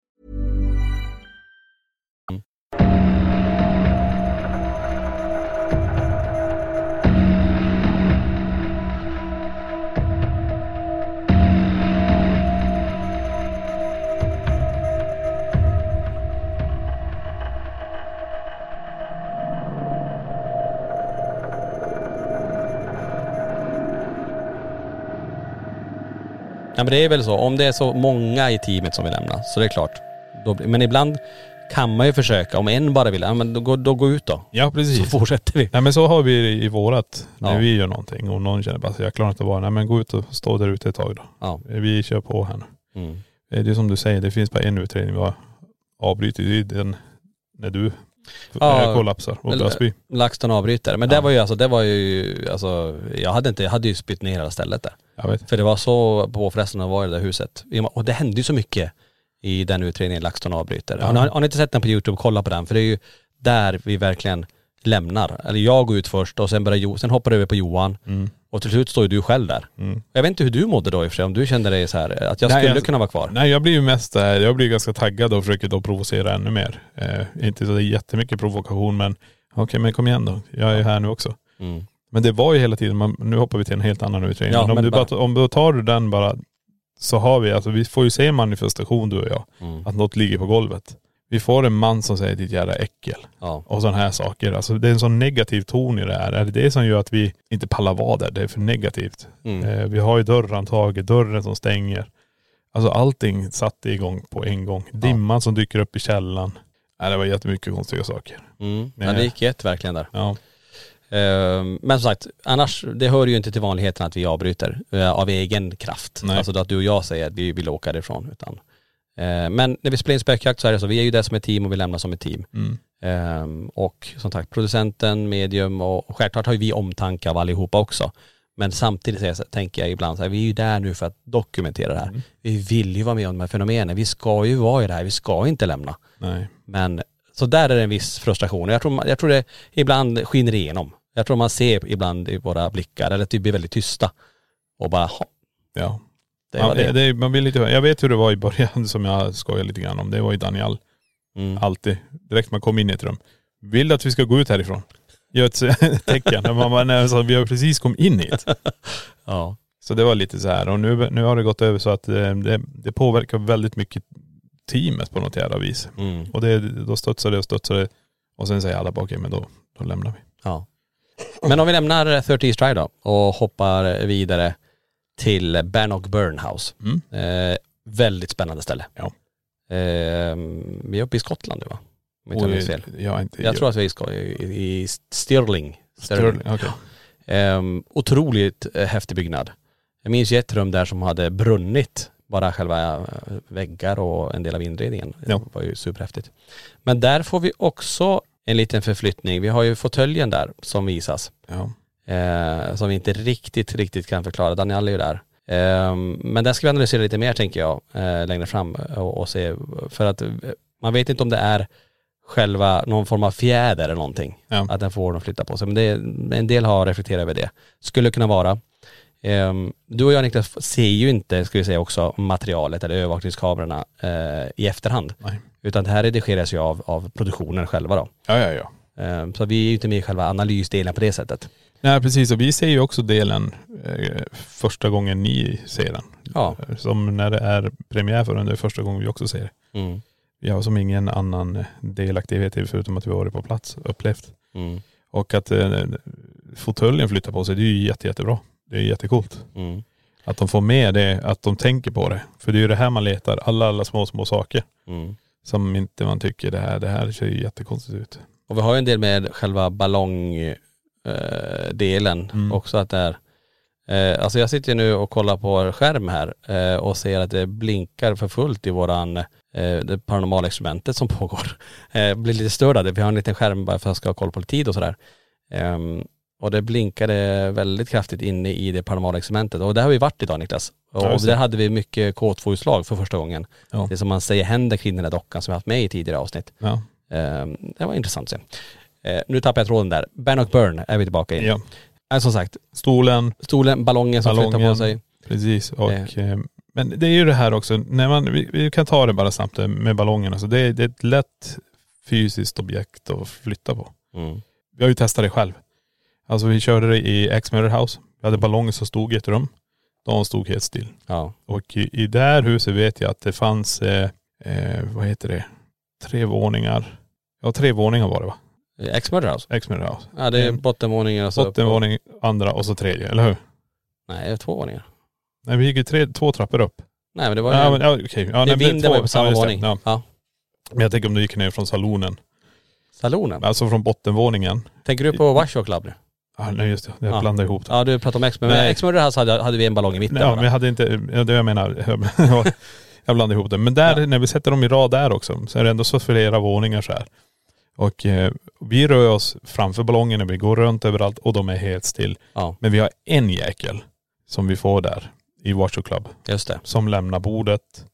D: Ja men det är väl så, om det är så många i teamet som vill lämna så det är klart. Då, blir- men ibland kan man ju försöka, om en bara vill, ja, men då, går- då gå ut då.
C: Ja
D: Så
C: precis.
D: fortsätter vi.
C: Nej men så har vi det i vårat, när
D: Ja.
C: vi gör någonting och någon känner bara att jag klarar inte att vara, nej men gå ut och stå där ute ett tag då.
D: Ja.
C: Vi kör på här nu.
D: Mm.
C: Eh, Det är som du säger, det finns bara en utredning vi har avbrutit, det är den när du Ja, kollapsar och börjar spy.
D: eh, LaxTon avbryter. Men det var ju alltså, det var ju, alltså jag hade inte, jag hade ju spytt ner hela stället där.
C: Jag vet.
D: För det var så påfrestande att vara i det där huset. I och med- Och det hände ju så mycket i den utredningen LaxTon avbryter.
C: Ja.
D: Har, ni, har ni inte sett den på YouTube, kolla på den. För det är ju där vi verkligen lämnar. Eller jag går ut först och sen, börjar jo, sen hoppar det över på Johan.
C: Mm.
D: Och till slut står ju du själv där. Jag vet inte hur du mådde då i och för sig, om du kände dig så här att jag
C: Nej,
D: skulle
C: jag-
D: kunna vara kvar.
C: Nej jag blir ju mest där, jag blir ganska taggad och försöker då provocera ännu mer. Eh, inte så det är jättemycket provokation men okej men kom igen då, jag är ju här nu också.
D: Mm.
C: Men det var ju hela tiden, man, nu hoppar vi till en helt annan utredning.
D: Ja,
C: men om,
D: men
C: du
D: bara-
C: bara, om du tar du den bara så har vi, alltså vi får ju se en manifestation du och jag,
D: Mm.
C: att något ligger på golvet. Vi får en man som säger ditt jävla äckel
D: Ja.
C: och sådana här saker. Alltså det är en sån negativ ton i det här. Är det det som gör att vi inte pallar vara där? Det är för negativt.
D: Mm.
C: Eh, vi har ju dörrhandtaget, dörren som stänger. Alltså allting satte igång på en gång. Dimman som dyker upp i källan. Nej, det var jättemycket konstiga saker.
D: Mm.
C: Nej.
D: Men det gick ett verkligen där.
C: Ja.
D: Ehm, Men som sagt, annars, det hör ju inte till vanligheten att vi avbryter eh, av egen kraft.
C: Nej.
D: Alltså att du och jag säger att vi vill åka därifrån. Utan, eh, men när vi spelar in spökjakt så är det så, vi är ju där som ett team och vi lämnar som ett team.
C: Mm.
D: Ehm, och som sagt, producenten, medium och, och självklart har ju vi omtanke av allihopa också. Men samtidigt så är jag så- tänker jag ibland så här, vi är ju där nu för att dokumentera det här.
C: Mm.
D: Vi vill ju vara med om de här fenomenen. Vi ska ju vara i det här, vi ska inte lämna.
C: Nej.
D: Men så där är det en viss frustration. Jag tror, man- jag tror det ibland skiner igenom. Jag tror man ser ibland i våra blickar, eller att vi blir väldigt tysta och bara, "Ha,
C: Ja.
D: det
C: man,
D: var det.
C: det- man blir lite, jag vet hur det var i början som jag skojade lite grann om. Det var ju Daniel.
D: Mm.
C: Alltid. Direkt man kom in i ett rum. Vill du att vi ska gå ut härifrån? Gör ett tecken. Och man bara, nej, så vi har precis kommit in hit.
D: Ja.
C: Så det var lite så här. Och nu, nu har det gått över så att eh, det, det påverkar väldigt mycket teamet på något jävla vis.
D: Mm.
C: Och det, då studsar det och studsar det. Och sen säger alla bara okej men då, då lämnar vi.
D: ja. Men om vi lämnar 30 East Drive då och hoppar vidare till Bannock Burnhouse.
C: Mm.
D: Eh, väldigt spännande ställe.
C: Ja.
D: Eh, vi är uppe i Skottland nu va? Om inte jag
C: Och,
D: minns fel.
C: Jag, är inte,
D: Jag tror att vi är i Sk- i, i Stirling.
C: Sterling, okej.
D: Ehm, otroligt eh, häftig byggnad. Jag minns ju ett rum där som hade brunnit. Bara själva eh, väggar och en del av inredningen.
C: Ja.
D: Det var ju superhäftigt. Men där får vi också en liten förflyttning. Vi har ju fåtöljen där som visas.
C: Ja.
D: Eh, som vi inte riktigt, riktigt kan förklara. Daniel är ju där. Ehm, men den ska vi analysera lite mer tänker jag eh, längre fram och, och se. För att eh, man vet inte om det är själva någon form av fjäder eller någonting.
C: Ja.
D: Att den får den att flytta på sig. Men det, en del har reflekterat över det. Skulle kunna vara. Ehm, du och jag Niklas ser ju inte, ska vi säga också, materialet eller övervakningskamerorna eh, i efterhand.
C: Nej.
D: Utan det här redigeras ju av, av produktionen själva då.
C: Ja, ja, ja.
D: Ehm, så vi är ju inte med i själva analysdelen på det sättet.
C: Nej precis och vi ser ju också delen eh, första gången ni ser den.
D: Ja.
C: Som när det är premiär för den, det är första gången vi också ser det.
D: Mm.
C: Vi har som ingen annan eh, delaktighet i det, förutom att vi har varit på plats och upplevt.
D: Mm.
C: Och att eh, fåtöljen flyttar på sig, det är ju jätte, jättebra. Det är jättecoolt.
D: Mm.
C: Att de får med det, att de tänker på det. För det är ju det här man letar, alla, alla små, små saker.
D: Mm.
C: Som inte man tycker det här, det här ser ju jättekonstigt ut.
D: Och vi har ju en del med själva ballongdelen eh, delen
C: Mm.
D: också att det är eh, Alltså jag sitter ju nu och kollar på skärm här eh, och ser att det blinkar för fullt i våran eh, det paranormala experimentet som pågår. Eh, blir lite störd av det. Vi har en liten skärm bara för att jag ska ha koll på tid och sådär. Ehm, och det blinkade väldigt kraftigt inne i det paranormala experimentet. Och där har vi varit idag Niklas. Och
C: Ja, just det.
D: där hade vi mycket K2-utslag för första gången.
C: Ja.
D: Det som man säger händer kring den där dockan som vi haft med i tidigare avsnitt.
C: Ja.
D: Eh, Det var intressant att se. Eh, Nu tappar jag tråden där. Ban och Burn är vi tillbaka i.
C: ja.
D: Eh, Som sagt,
C: Stolen,
D: stolen, ballongen som flyttar på
C: Ballongen.
D: sig.
C: Precis. Och, eh, men det är ju det här också, när man, vi, vi kan ta det bara snabbt eh, med ballongen. Alltså det, är- det är ett lätt fysiskt objekt att flytta på. Vi har ju testat det själv. Alltså vi körde det i X-Mirror House. Vi hade ballonger som stod i ett rum. De stod helt still.
D: Ja.
C: Och i, i det här huset vet jag att det fanns, eh, eh, vad heter det, tre våningar. Ja tre våningar var det va?
D: Eh, X-Murder House.
C: X-Mirror House.
D: Ja det är
C: En
D: bottenvåningen och så...
C: Bottenvåning, andra och så tredje, eller hur?
D: Nej, det är två våningar.
C: Nej vi gick ju tre, två trappor upp.
D: Nej men det var ju...
C: Ja men ja, okej. Ja,
D: det
C: nej, men
D: vinden var ju
C: två-
D: på samma
C: ja, just det.
D: våning.
C: Ja.
D: Ja.
C: Men jag tänker om du gick ner från salonen.
D: Salonen.
C: Alltså från bottenvåningen.
D: Tänker du på Washoe Club nu?
C: Ah, nej just det, jag
D: Ja.
C: blandade ihop det.
D: Ja du pratar om X-Murder. Men
C: Nej.
D: X-Murder House hade, hade vi en ballong i mitten
C: ja,
D: bara.
C: men jag hade inte, ja, det jag menar, jag blandade ihop det. Men där, när vi sätter dem i rad där också, så är det ändå så flera våningar så här. Och eh, vi rör oss framför ballongerna, vi går runt överallt och de är helt still.
D: Ja.
C: Men vi har en jäkel som vi får där i Watcher Club.
D: Just det.
C: Som lämnar bordet,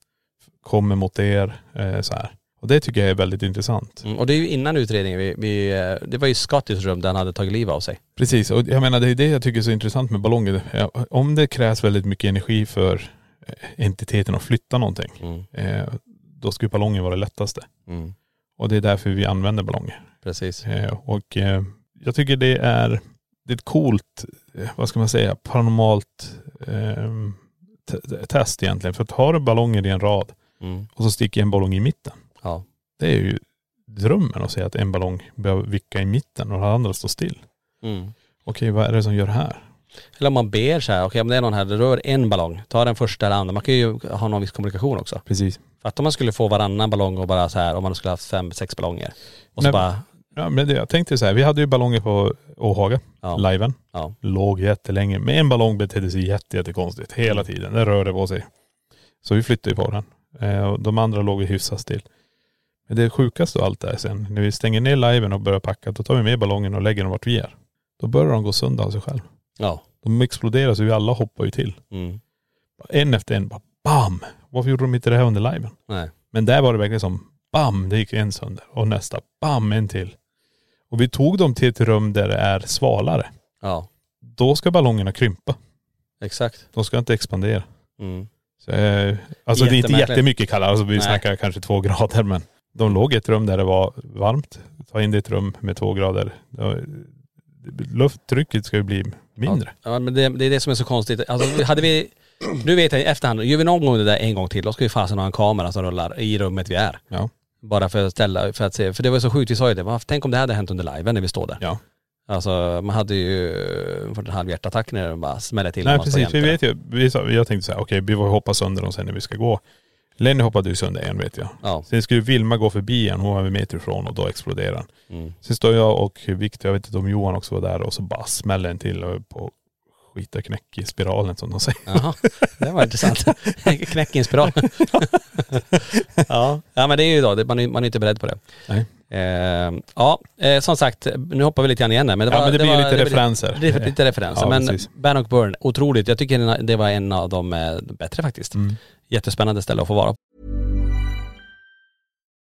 C: kommer mot er eh, så här. Och det tycker jag är väldigt intressant.
D: Mm, och det är ju innan utredningen. Vi, vi, eh, det var ju Scottys rum där han hade tagit livet av sig.
C: Precis, och jag menar det är det jag tycker är så intressant med ballonger. Ja, Om det krävs väldigt mycket energi för eh, entiteten att flytta någonting, eh, då skulle ballongen vara det lättaste.
D: Mm.
C: Och det är därför vi använder ballonger.
D: Precis.
C: Eh, och eh, jag tycker det är, det är ett coolt, eh, vad ska man säga, paranormalt ehm, te- te- test egentligen. För att har du ballonger i en rad
D: Mm.
C: och så sticker en ballong i mitten.
D: Ja.
C: Det är ju drömmen att se att en ballong behöver vicka i mitten och den andra står still.
D: Mm.
C: Okej, vad är det som gör det här?
D: Eller om man ber så här, okej om det är någon här, det rör en ballong, ta den första eller andra. Man kan ju ha någon viss kommunikation också.
C: Precis.
D: För att om man skulle få varannan ballong och bara så här, om man skulle haft fem, sex ballonger. Och så
C: Men-
D: bara,
C: Ja, men det, jag tänkte så här, vi hade ju ballonger på Åhaga, liven.
D: Ja.
C: Låg jättelänge. Men en ballong betedde sig jätte, jättekonstigt
D: Mm.
C: hela tiden. Den rörde på sig. Så vi flyttade ju på den. Eh, och de andra låg ju hyfsat still. Men det sjukaste av allt är sen, när vi stänger ner liven och börjar packa, då tar vi med ballongen och lägger den vart vi är. Då börjar de gå sönder av sig själv.
D: ja.
C: De exploderar så vi alla hoppar ju till.
D: Mm.
C: En efter en bara BAM! Varför gjorde de inte det här under liven?
D: Nej.
C: Men där var det verkligen som BAM! Det gick en sönder. Och nästa BAM! En till. Och vi tog dem till ett rum där det är svalare.
D: Ja.
C: Då ska ballongerna krympa.
D: Exakt.
C: De ska inte expandera.
D: Mm.
C: Så, eh, alltså det är inte
D: Jättemärkligt.
C: jättemycket kallare. Alltså vi
D: Nej.
C: snackar kanske två grader men de låg i ett rum där det var varmt. Ta in det i ett rum med två grader. Då- Lufttrycket ska ju bli mindre.
D: Ja, men det, det är det som är så konstigt. Alltså hade vi, nu vet jag i efterhand, gör vi någon gång det där en gång till, då ska vi fasen ha en kamera som rullar i rummet vi är.
C: Ja.
D: Bara för att ställa, för att se, för det var så sjukt, vi sa ju det, "Va, tänk om det hade hänt under liven när vi står där.
C: Ja.
D: Alltså man hade ju fått en halv hjärtattack när den bara smällde till. när
C: Nej
D: man står
C: precis, vi
D: jämte.
C: vet ju. Vi sa, jag tänkte så här, okej vi får hoppa sönder dem sen när vi ska gå. Lenny hoppade ju sönder en vet jag.
D: Ja.
C: Sen skulle Vilma gå förbi en, hon var en meter ifrån och då exploderade den.
D: Mm.
C: Sen står jag och Viktor, jag vet inte om Johan också var där och så bara smäller en till och på skita knäck i spiralen som de säger.
D: Jaha, det var intressant. Knäck inspiralen. ja. ja, men det är ju då, det- man är, man är inte beredd på det.
C: Nej.
D: Eh, ja, eh, som sagt, nu hoppar vi lite grann igen här, men det
C: Ja,
D: var,
C: men det blir
D: var,
C: lite referenser.
D: Det, lite referenser,
C: Ja,
D: men
C: precis.
D: Ban och Burn, otroligt. Jag tycker den- det var en av de eh, bättre faktiskt.
C: Mm.
D: Jättespännande ställe att få vara på.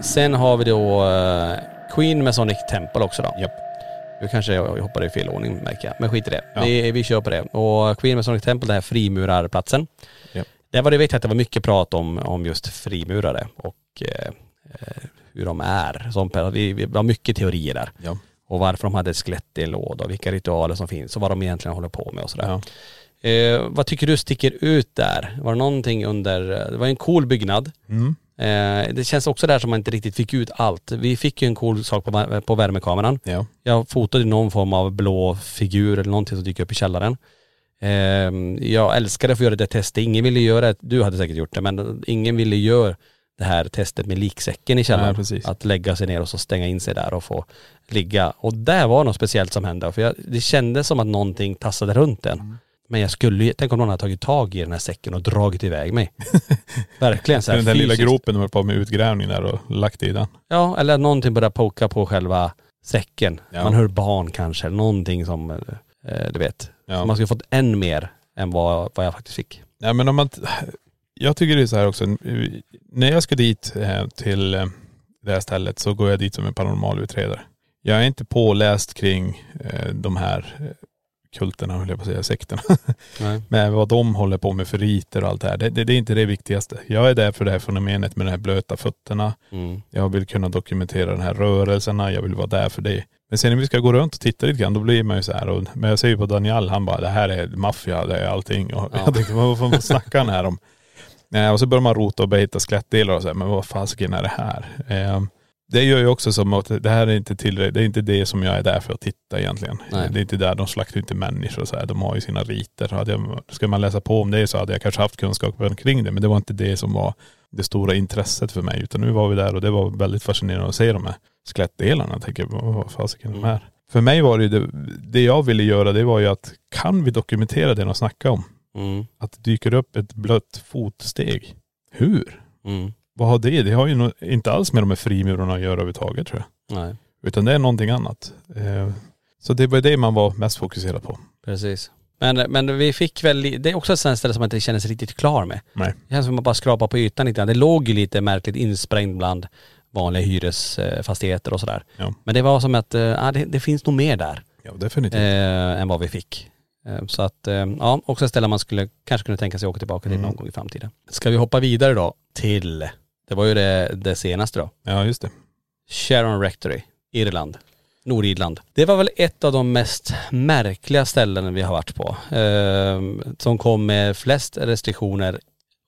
D: Sen har vi då eh, Queen med Sonic Temple också då. Japp. Nu kanske jag hoppade i fel ordning märker jag, men skit i det.
C: Ja.
D: Vi, vi kör på det. Och Queen med Sonic Temple, den här frimurarplatsen.
C: Japp.
D: Där var det, vet jag att det var mycket prat om, om just frimurare och eh, eh, hur de är. Som, per- vi, vi det var mycket teorier där.
C: Ja.
D: Och varför de hade ett skelett i en låda och vilka ritualer som finns och vad de egentligen håller på med och sådär.
C: Ja.
D: Eh, vad tycker du sticker ut där? Var det någonting under, det var en cool byggnad.
C: Mm.
D: Eh, det känns också där som man inte riktigt fick ut allt. Vi fick ju en cool sak på, va- på värmekameran.
C: Ja.
D: Jag fotade någon form av blå figur eller någonting som dyker upp i källaren. Ehm, Eh, jag älskade att få göra det testet. Ingen ville göra det. Du hade säkert gjort det men ingen ville göra det här testet med liksäcken i källaren.
C: Nej, precis.
D: att lägga sig ner och så stänga in sig där och få ligga. Och där var något speciellt som hände. För jag, det kändes som att någonting tassade runt en.
C: Mm.
D: Men jag skulle ju, tänk om någon hade tagit tag i den här säcken och dragit iväg mig. Verkligen så här
C: Den där lilla
D: fysiskt.
C: gropen de höll på med utgrävning där och lagt i den.
D: Ja, eller att någonting börjar poka på själva säcken.
C: Ja.
D: Man hör barn kanske, eller någonting som, eh, du vet. Så man skulle fått än mer än vad, vad jag faktiskt fick.
C: Nej men om man, jag tycker det är så här också, när jag ska dit eh, till eh, det här stället så går jag dit som en paranormal utredare. Jag är inte påläst kring eh, de här eh, kulterna, höll jag på att säga, sekterna.
D: Nej.
C: Men vad de håller på med för riter och allt det här, det, det, det är inte det viktigaste. Jag är där för det här fenomenet med de här blöta fötterna. Jag vill kunna dokumentera de här rörelserna, jag vill vara där för det. Men sen när vi ska gå runt och titta lite grann, då blir man ju så här. Och, men jag ser ju på Daniel, han bara, det här är maffia, det är allting. Och jag tänkte, vad fan snackar han här om? Nej, och så börjar man rota och börjar hitta skelettdelar och så här, men vad fasiken är det här? Ehm, det gör ju också som att det här är inte tillräckligt, det är inte det som jag är där för att titta egentligen.
D: Nej.
C: Det är inte där de slaktar inte människor och så här, de har ju sina riter. Hade jag, ska man läsa på om det så hade jag kanske haft kunskapen kring det, men det var inte det som var det stora intresset för mig. Utan nu var vi där och det var väldigt fascinerande att se de här skelettdelarna. Jag tänker, "Vad- vad fasiken är de här? För mig var det ju det, det jag ville göra, det var ju att kan vi dokumentera det de snackar om?
D: Mm,
C: Att det dyker upp ett blött fotsteg. Hur?
D: mm.
C: Vad har det? Det har ju nå- inte alls med de här frimurarna att göra överhuvudtaget tror jag.
D: Nej.
C: Utan det är någonting annat. Eh, Så det var det man var mest fokuserad på.
D: Precis. Men, men vi fick väl, li- det är också ett sånt ställe som man inte känner sig riktigt klar med.
C: Nej.
D: Det känns som att man bara skrapar på ytan lite grann. Det låg ju lite märkligt insprängd bland vanliga hyresfastigheter och sådär.
C: Ja.
D: Men det var som att, eh, ja det, det finns nog mer där.
C: Ja definitivt.
D: Eh, än vad vi fick. Eh, så att, eh, ja, också ett ställe man skulle kanske kunna tänka sig åka tillbaka till
C: Mm.
D: någon gång i framtiden. Ska vi hoppa vidare då till, det var ju det, det senaste då.
C: Ja just det.
D: Sharon Rectory, Irland. Nordirland. Det var väl ett av de mest märkliga ställen vi har varit på. Eh, som kom med flest restriktioner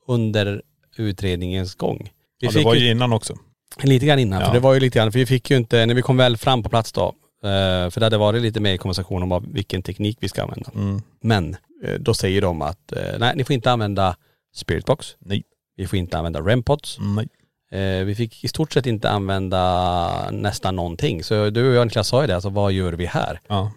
D: under utredningens gång. Vi
C: Ja, det
D: fick
C: var
D: ju-
C: ju innan också.
D: Lite grann innan,
C: Ja.
D: för det var ju lite grann, för vi fick ju inte, när vi kom väl fram på plats då, eh, för det hade varit lite mer konversation om vad, vilken teknik vi ska använda.
C: Mm.
D: Men eh, då säger de att, eh, nej ni får inte använda spiritbox.
C: Nej.
D: Vi får inte använda rempods.
C: Nej.
D: Eh, vi fick i stort sett inte använda nästan någonting. Så du och jag Niklas sa ju det, alltså vad gör vi här?
C: Ja.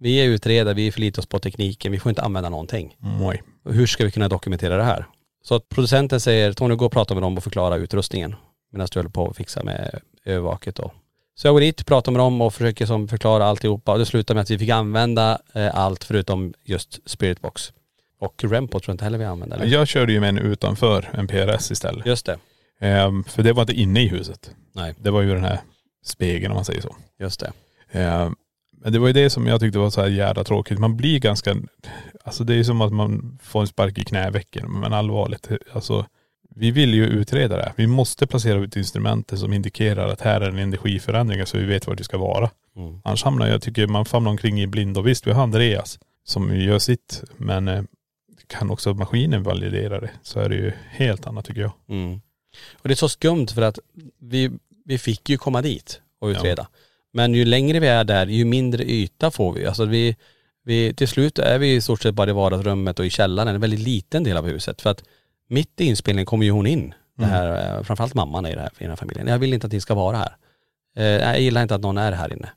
D: Vi är utredare, vi förlitar oss på tekniken, vi får inte använda någonting.
C: Nej.
D: Hur ska vi kunna dokumentera det här? Så att producenten säger, Tony gå och prata med dem och förklara utrustningen. Medan du håller på att fixa med övervaket då. Så jag går dit, pratar med dem och försöker som förklara alltihopa och det slutar med att vi fick använda eh, allt förutom just spiritbox. Och Rempo tror jag inte heller vi använde. eller?
C: Jag körde ju med en utanför en PRS istället.
D: Just det.
C: Ehm, För det var inte inne i huset.
D: Nej.
C: Det var ju den här spegeln om man säger så.
D: Just det.
C: Ehm, Men det var ju det som jag tyckte var så här jävla tråkigt. Man blir ganska, alltså det är som att man får en spark i knävecken. Men allvarligt, alltså vi vill ju utreda det. här. Vi måste placera ut instrumenten som indikerar att här är en energiförändring så vi vet var det ska vara.
D: Mm.
C: Annars hamnar jag, tycker man famlar omkring i blindo. Visst, vi har Andreas som gör sitt, men eh, kan också maskinen validera det så är det ju helt annat tycker jag.
D: Mm. Och det är så skumt för att vi, vi fick ju komma dit och utreda. Men ju längre vi är där, ju mindre yta får vi. Alltså vi, vi. Till slut är vi i stort sett bara i vardagsrummet och i källaren, en väldigt liten del av huset. För att mitt i inspelningen kommer ju hon in, det här, eh, framförallt mamman i, det här, i den här familjen. Jag vill inte att ni ska vara här. Eh, jag gillar inte att någon är här inne.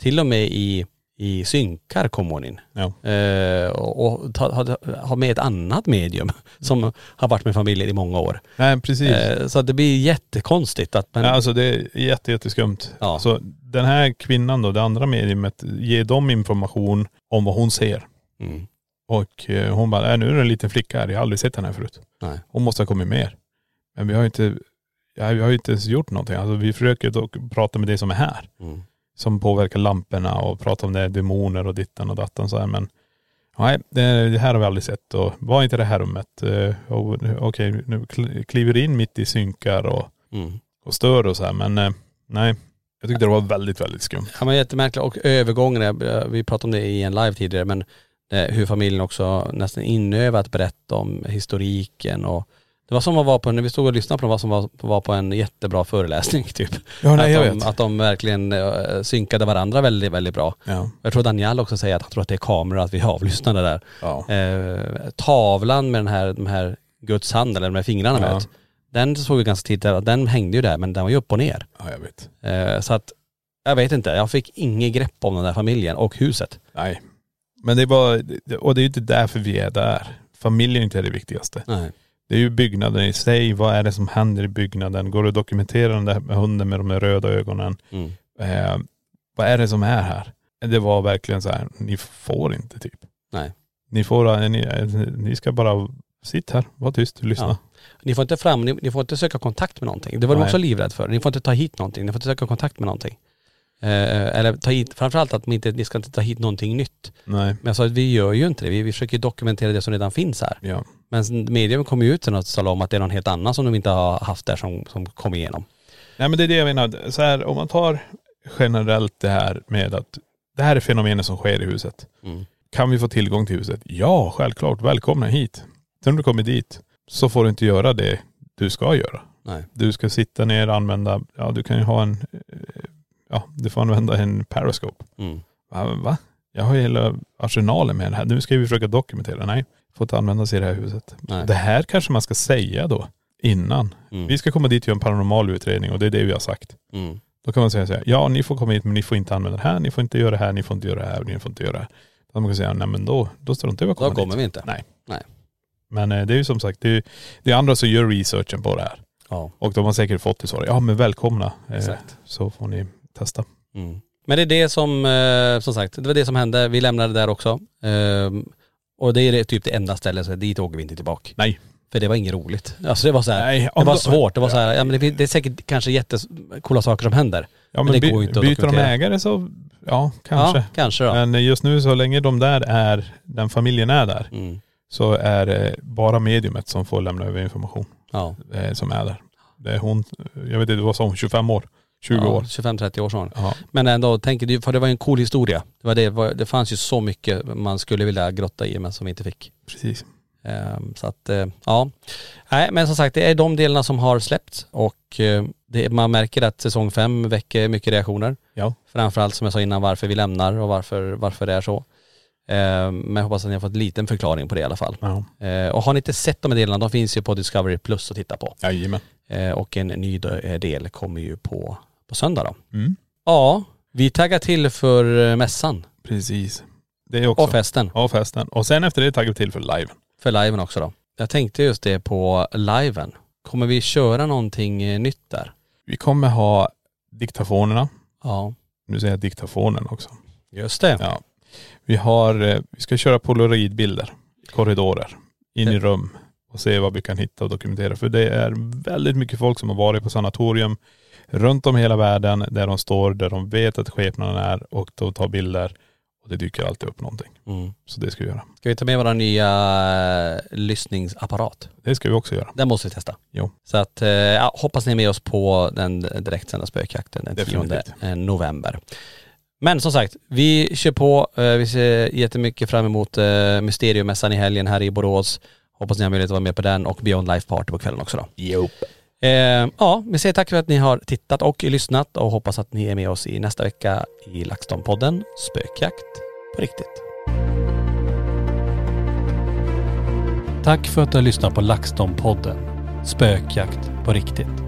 D: Till och med i, i synkar kom hon in.
C: Ja.
D: Eh, och och ta, ha, ha med ett annat medium som har varit med familjen i många år.
C: Nej precis.
D: Eh, så att det blir jättekonstigt att man..
C: Ja, alltså det är jätte, jätteskumt.
D: Ja.
C: Så den här kvinnan då, det andra mediumet, ger dem information om vad hon ser.
D: Mm.
C: Och eh, hon bara, "Äh, nu är det en liten flicka här, jag har aldrig sett henne här förut.
D: Nej.
C: Hon måste ha kommit mer. Men vi har ju inte, ja, vi har ju inte ens gjort någonting. Alltså vi försöker dock prata med det som är här.
D: Mm.
C: Som påverkar lamporna och prata om det, demoner och dittan och dattan så här. Men nej, det, det här har vi aldrig sett och var inte det här rummet. Eh, och nu- Okej, nu kl- kliver in mitt i synkar och
D: Mm.
C: och stör och så här. Men eh, nej, jag tyckte det var väldigt, väldigt skumt.
D: Ja, men jättemärkligt. Och övergången, eh, vi pratade om det i en live tidigare, men eh, hur familjen också nästan inövat berätta om historiken och det var som att vara på, när vi stod och lyssnade på dem, var som att vara på en jättebra föreläsning typ.
C: Ja, nej,
D: att,
C: jag
D: de,
C: vet.
D: att de verkligen eh, synkade varandra väldigt, väldigt bra.
C: Ja.
D: Jag tror Daniel också säger att han tror att det är kameror, att vi är avlyssnade där.
C: Ja.
D: Eh, tavlan med den här, de här Guds hand, eller de här fingrarna
C: Ja.
D: vet, Den såg vi ganska tidigt, där, att den hängde ju där men den var ju upp och ner.
C: Ja, jag vet.
D: Eh, så att, jag vet inte, jag fick inget grepp om den där familjen och huset.
C: Nej. Men det är bara, och det är ju inte därför vi är där. Familjen inte är det viktigaste.
D: Nej.
C: Det är ju byggnaden i sig. Vad är det som händer i byggnaden? Går det att dokumentera den där med hunden med de där röda ögonen?
D: Mm.
C: Eh, vad är det som är här? Det var verkligen så här, ni får inte typ.
D: Nej.
C: Ni får, eh, ni, ni ska bara, sitt här, var tyst, lyssna.
D: Ja. Ni får inte fram, ni, ni får inte söka kontakt med någonting. Det var de
C: Nej.
D: också livrädda för. Ni får inte ta hit någonting, ni får inte söka kontakt med någonting. Eh, eller ta hit, framförallt att ni inte, ni ska inte ta hit någonting nytt.
C: Nej.
D: Men jag sa att vi gör ju inte det, vi, vi försöker dokumentera det som redan finns här.
C: Ja.
D: Men sen- medium kom ju ut till något stall om att det är någon helt annan som de inte har haft där som, som kom igenom.
C: Nej men det är det jag menar. Så här, om man tar generellt det här med att det här är fenomenen som sker i huset. Kan vi få tillgång till huset? Ja, självklart. Välkomna hit. Sen när du kommer dit så får du inte göra det du ska göra.
D: Nej.
C: Du ska sitta ner och använda, ja du kan ju ha en, eh, ja du får använda en periscope.
D: Mm.
C: Va, va? Jag har ju hela arsenalen med det här. Nu ska vi försöka dokumentera. Nej, får inte användas i det här huset.
D: Nej.
C: Det här kanske man ska säga då innan.
D: Mm.
C: Vi ska komma dit och göra en paranormal utredning och det är det vi har sagt.
D: Mm.
C: Då kan man säga så här, ja ni får komma hit men ni får inte använda det här, ni får inte göra det här, ni får inte göra det här, ni får inte göra det här. Då man kan säga, nej men då, då struntar vi i att komma
D: Då kommer
C: dit.
D: vi inte.
C: Nej.
D: Nej.
C: Men eh, det är ju som sagt, det är, ju- det är andra som gör researchen på det här.
D: Ja.
C: Och de har säkert fått det svaret, ja men välkomna. Eh,
D: Exakt.
C: Så får ni testa.
D: Mm. Men det är det som, eh, som sagt, det var det som hände. Vi lämnade det där också. Ehm, och det är det, typ det enda stället, så dit åker vi inte tillbaka.
C: Nej.
D: För det var inget roligt. Alltså det var så här,
C: Nej,
D: det
C: om
D: var
C: de-
D: svårt. Det var så här, ja, men det, fin- det är säkert kanske jättecoola saker som händer.
C: Ja
D: men
C: men,
D: det går ju
C: by,
D: inte att
C: byter de
D: dokumentera.
C: ägare så, ja kanske.
D: Ja, kanske då.
C: Men just nu så länge de där är, den familjen är där,
D: Mm.
C: så är det bara mediumet som får lämna över information.
D: Ja.
C: eh, som är där. Det är hon, jag vet inte vad sa hon, 25 år? 20
D: ja,
C: år?
D: 25-30 år sedan.
C: Ja.
D: Men ändå, tänk, det- för det var ju en cool historia. Det, var det, var- det fanns ju så mycket man skulle vilja grotta i men som vi inte fick.
C: Precis.
D: Ehm, Så att, eh, ja. Nej, men som sagt, det är de delarna som har släppts och eh, det, man märker att säsong fem väcker mycket reaktioner.
C: Ja.
D: Framförallt som jag sa innan, varför vi lämnar och varför, varför det är så. Ehm, Men jag hoppas att ni har fått en liten förklaring på det i alla fall.
C: Ja.
D: Eh, Och har ni inte sett de här delarna, de finns ju på Discovery Plus att titta på.
C: Jajamän.
D: Eh, Och en ny do- eh, del kommer ju på, på söndag då.
C: Mm.
D: Ja, vi taggar till för eh, mässan
C: Precis. Det är också.
D: och festen.
C: Ja, festen. Och sen efter det taggar vi till för liven.
D: För liven också då. Jag tänkte just det på liven. Kommer vi köra någonting eh, nytt där?
C: Vi kommer ha diktafonerna.
D: Ja.
C: Nu säger jag diktafonen också.
D: Just det.
C: Ja. Vi har, eh, vi ska köra polaroidbilder, i korridorer, in i
D: Det-
C: rum och se vad vi kan hitta och dokumentera. För det är väldigt mycket folk som har varit på sanatorium runt om i hela världen där de står, där de vet att skepnaden är och de tar bilder och det dyker alltid upp någonting.
D: Mm.
C: Så det ska vi göra.
D: Ska vi ta med våra nya eh, lyssningsapparat?
C: Det ska vi också göra.
D: Den måste vi testa.
C: Jo.
D: Så att, eh, ja, hoppas ni är med oss på den direktsända spökjakten den 10
C: Definitivt.
D: eh, november. Men som sagt, vi kör på. Eh, Vi ser jättemycket fram emot eh, Mysteriummässan i helgen här i Borås. Hoppas ni har möjlighet att vara med på den och Beyond Life Party på kvällen också då.
C: Jo.
D: Eh, ja, vi säger tack för att ni har tittat och lyssnat och hoppas att ni är med oss i nästa vecka i LaxTon-podden Spökjakt på riktigt.
B: Tack för att du har lyssnat på LaxTon-podden Spökjakt på riktigt.